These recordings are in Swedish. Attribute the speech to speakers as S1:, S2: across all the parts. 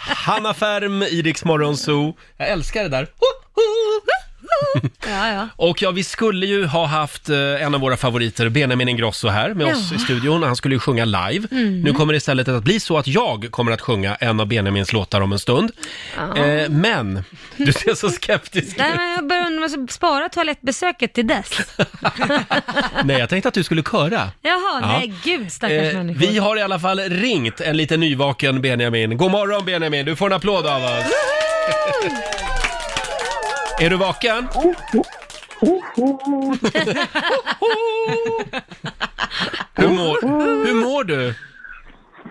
S1: Hanna Färm i Rix Morgon Zoo. Jag älskar det där.
S2: Ja, ja.
S1: Och ja, vi skulle ju ha haft eh, en av våra favoriter, Benjamin Ingrosso, här med oss
S2: Ja.
S1: i studion. Han skulle ju sjunga live.
S2: Mm.
S1: Nu kommer det istället att bli så att jag kommer att sjunga en av Benjamins låtar om en stund.
S2: Ja.
S1: Eh, men, du ser så skeptisk
S2: Nej,
S1: ut.
S2: men jag börjar undra, man ska spara toalettbesöket till dess.
S1: Nej, jag tänkte att du skulle köra.
S2: Jaha,
S1: Ja.
S2: nej gud stackars
S1: Eh,
S2: människor.
S1: vi har i alla fall ringt en lite nyvaken Benjamin. God morgon Benjamin, du får en applåd av oss. Är du vaken? hur, mår, hur mår du?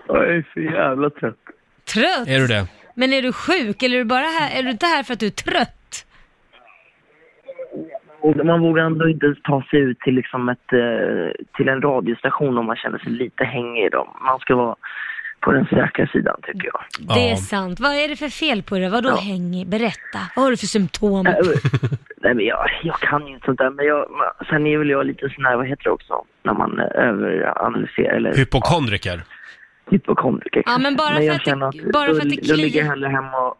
S3: Jag är så jävla trött.
S2: Trött?
S1: Är du det?
S2: Men är du sjuk eller är du bara här, är du inte här för att du är trött?
S3: Och man vågar ändå inte ens ta sig ut till, liksom ett, eh, till en radiostation om man känner sig lite hängig. Då. Man ska vara på den säkra sidan tycker jag.
S2: Det är sant. Vad är det för fel på det? Vadå hängig? Berätta. Vad har du för symptom?
S3: Nej, men- Äh, Nej, men jag, jag kan ju inte sånt där. Men jag, men sen är väl jag lite sån här, vad heter det också, när man eh, överanalyserar eller
S1: Hypokondriker.
S3: hypokondriker.
S2: Ja, men bara för
S3: jag
S2: att det-
S3: känner att
S2: bara för
S3: då,
S2: att det
S3: då ligger jag
S2: kliar.
S3: hellre hemma och,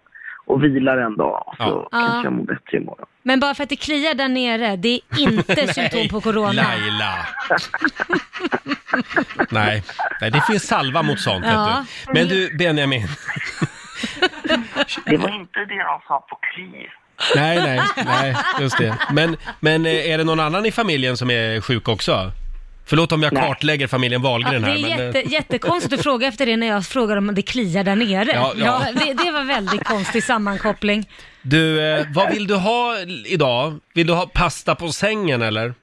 S3: och vilar en dag. och Så
S1: Ja.
S2: Ja.
S3: kanske jag mår bättre imorgon.
S2: Men bara för att det kliar där nere, det är inte symptom på corona.
S1: Laila. Nej. Nej, det finns salva mot sånt
S2: Ja.
S1: vet du. Men du Benjamin.
S3: Det var inte det de sa på KRI.
S1: Nej, nej, nej, just det. Men, men eh, är det någon annan i familjen som är sjuk också? Förlåt om jag kartlägger familjen
S2: Ja, det
S1: Wahlgren här,
S2: är
S1: men...
S2: jätte,
S1: eh,
S2: jättekonstigt att fråga efter det när jag frågar om det kliar där nere.
S1: Ja, ja.
S2: det, det var väldigt konstig sammankoppling.
S1: Du, eh, vad vill du ha idag? Vill du ha pasta på sängen eller?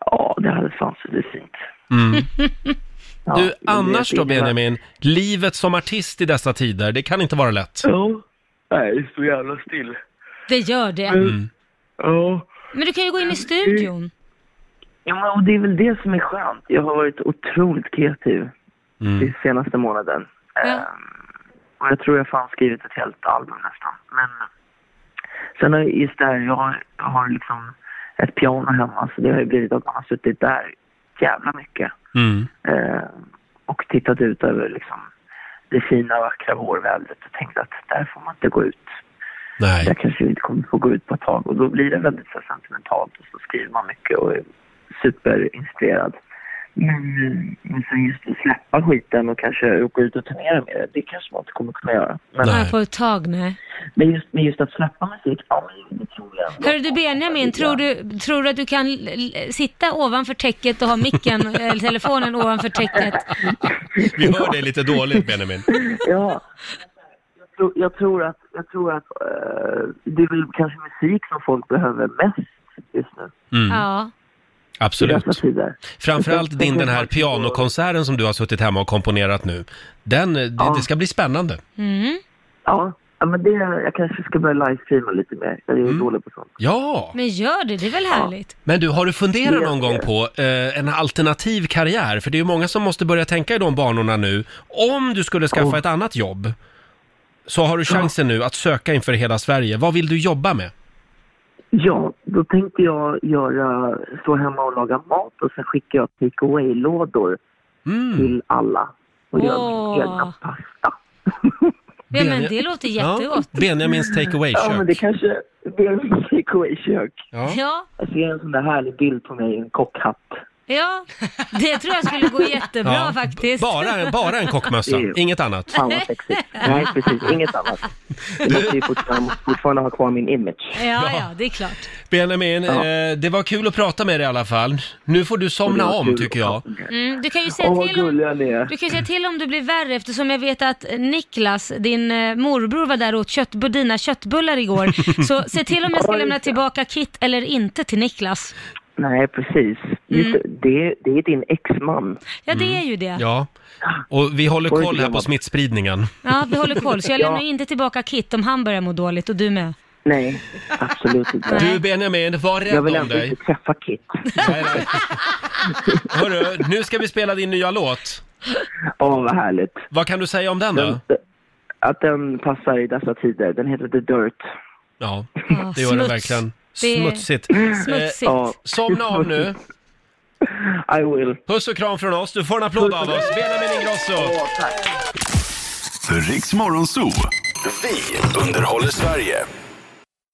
S3: Ja, det hade fan suttit fint. Ja, men
S1: Mm. Du,
S3: det
S1: annars då
S3: finns väl-
S1: Benjamin, livet som artist i dessa tider, det kan inte vara lätt.
S3: Ja. Nej, det är så jävla still.
S2: Det gör det.
S1: Mm.
S3: Ja.
S2: Men du kan ju gå in i studion.
S3: Ja, men och det är väl det som är skönt. Jag har varit otroligt kreativ
S1: Mm.
S3: den senaste månaden. Ehm,
S2: Ja.
S3: Och jag tror jag fan skrivit ett helt album nästan. Men sen har jag- just det här, jag har, jag har liksom ett piano hemma så det har ju blivit att man har suttit där jävla mycket.
S1: Mm.
S3: Eh, och tittat ut över liksom det fina vackra vårvädret och tänkt att där får man inte gå ut.
S1: Nej.
S3: Där kanske vi inte kommer få gå ut på ett tag och då blir det väldigt så här sentimentalt och så skriver man mycket och är superinspirerad. Men, men sen just att släppa skiten och kanske åka ut och turnera med det, det kanske man inte kommer kunna göra. Men,
S1: Nej.
S2: Här på ett tag nu.
S3: men, just, men just att släppa musik, ja men det tror jag ändå.
S2: Hörru du Benjamin, tror du, tror du att du kan l- l- sitta ovanför täcket och ha micken, eller telefonen ovanför
S1: Mm.
S2: täcket?
S1: Vi hör dig lite dåligt Benjamin.
S3: Ja. Jag tror, jag tror att, jag tror att eh, det är väl kanske musik som folk behöver mest just nu.
S1: Mm.
S2: Ja.
S3: I
S1: Absolut.
S3: dessa tider.
S1: Framförallt din, den här pianokonserten som du har suttit hemma och komponerat nu. Den, eh, det,
S3: Ja.
S1: det ska bli spännande.
S2: Mm.
S3: Ja, ja, men det, jag kanske ska börja livestreama lite mer. Jag är
S1: Mm.
S3: ju dålig på sånt.
S1: Ja!
S2: Men gör det, det är väl härligt?
S1: Men du, har du funderat
S3: Det-
S1: någon gång på eh, en alternativ karriär? För det är ju många som måste börja tänka i de banorna nu. Om du skulle skaffa
S3: Ja.
S1: ett annat jobb, så har du chansen nu att söka inför hela Sverige. Vad vill du jobba med?
S3: Ja, då tänkte jag göra, stå hemma och laga mat och sen skickar jag take away-lådor
S1: Mm.
S3: till alla och gör
S2: Åh.
S3: min egna pasta.
S2: Ja, men
S1: Benja-
S2: det låter jättegott.
S1: Ja, Benjamins take
S3: Ja, men det
S1: away-kök.
S3: kanske blir en take away-kök.
S1: Ja.
S2: Ja,
S3: Jag ser en sån där härlig bild på mig i en kockhatt.
S2: ja. Det tror jag skulle gå jättebra
S1: Ja, b-
S2: faktiskt.
S1: Bara, bara en kockmössa,
S3: Jo.
S1: inget annat.
S3: Fan vad sexigt. Nej, precis. Inget annat. Jag måste ju fortfarande, fortfarande ha kvar min image.
S2: Ja, ja, det är klart.
S1: Benjamin,
S3: Ja.
S1: eh, det var kul att prata med dig i alla fall. Nu får du
S3: Och det
S1: somna
S3: var
S1: om,
S3: kul
S1: tycker
S3: att
S1: jag.
S3: prata med er.
S2: Mm, du kan ju säga
S3: Åh, vad
S2: till om...
S3: gulliga ni är.
S2: Du kan ju säga till om du blir värre eftersom jag vet att Niklas, din eh, morbror var där och åt kött, dina köttbullar igår. Så se till om jag ska
S3: Oj.
S2: lämna tillbaka kit eller inte till Niklas.
S3: Nej, precis. Just det, det, det är din exman.
S2: Ja, det är ju det. Ja,
S1: Mm. Ja, och vi håller
S3: Får inte
S1: koll här
S3: glömma.
S1: på smittspridningen.
S2: vi håller koll. Så jag lämnar
S3: Ja.
S2: inte tillbaka kit om han börjar må dåligt och du med.
S3: Nej, absolut inte.
S2: Nej.
S1: Du Benjamin, var
S3: Jag vill
S1: rädd om
S3: ändå
S1: dig.
S3: inte träffa Kit.
S1: Nej, nej. Hörru, nu ska vi spela din nya låt.
S3: Åh, vad härligt.
S1: Vad kan du säga om den då?
S3: Den, eh, att den passar i dessa tider. Den heter The Dirt.
S1: Ja,
S2: Ja,
S1: det gör den
S2: smuts.
S1: verkligen.
S2: Det är
S1: Smutsigt.
S2: Smutsigt.
S3: Eh, Ja,
S1: Somna om nu.
S3: I will.
S1: Puss och kram från oss. Du får en applåd av oss. Benjamin Ingrosso.
S3: Åh, tack.
S4: för Riks Morgonzoo. Vi underhåller Sverige.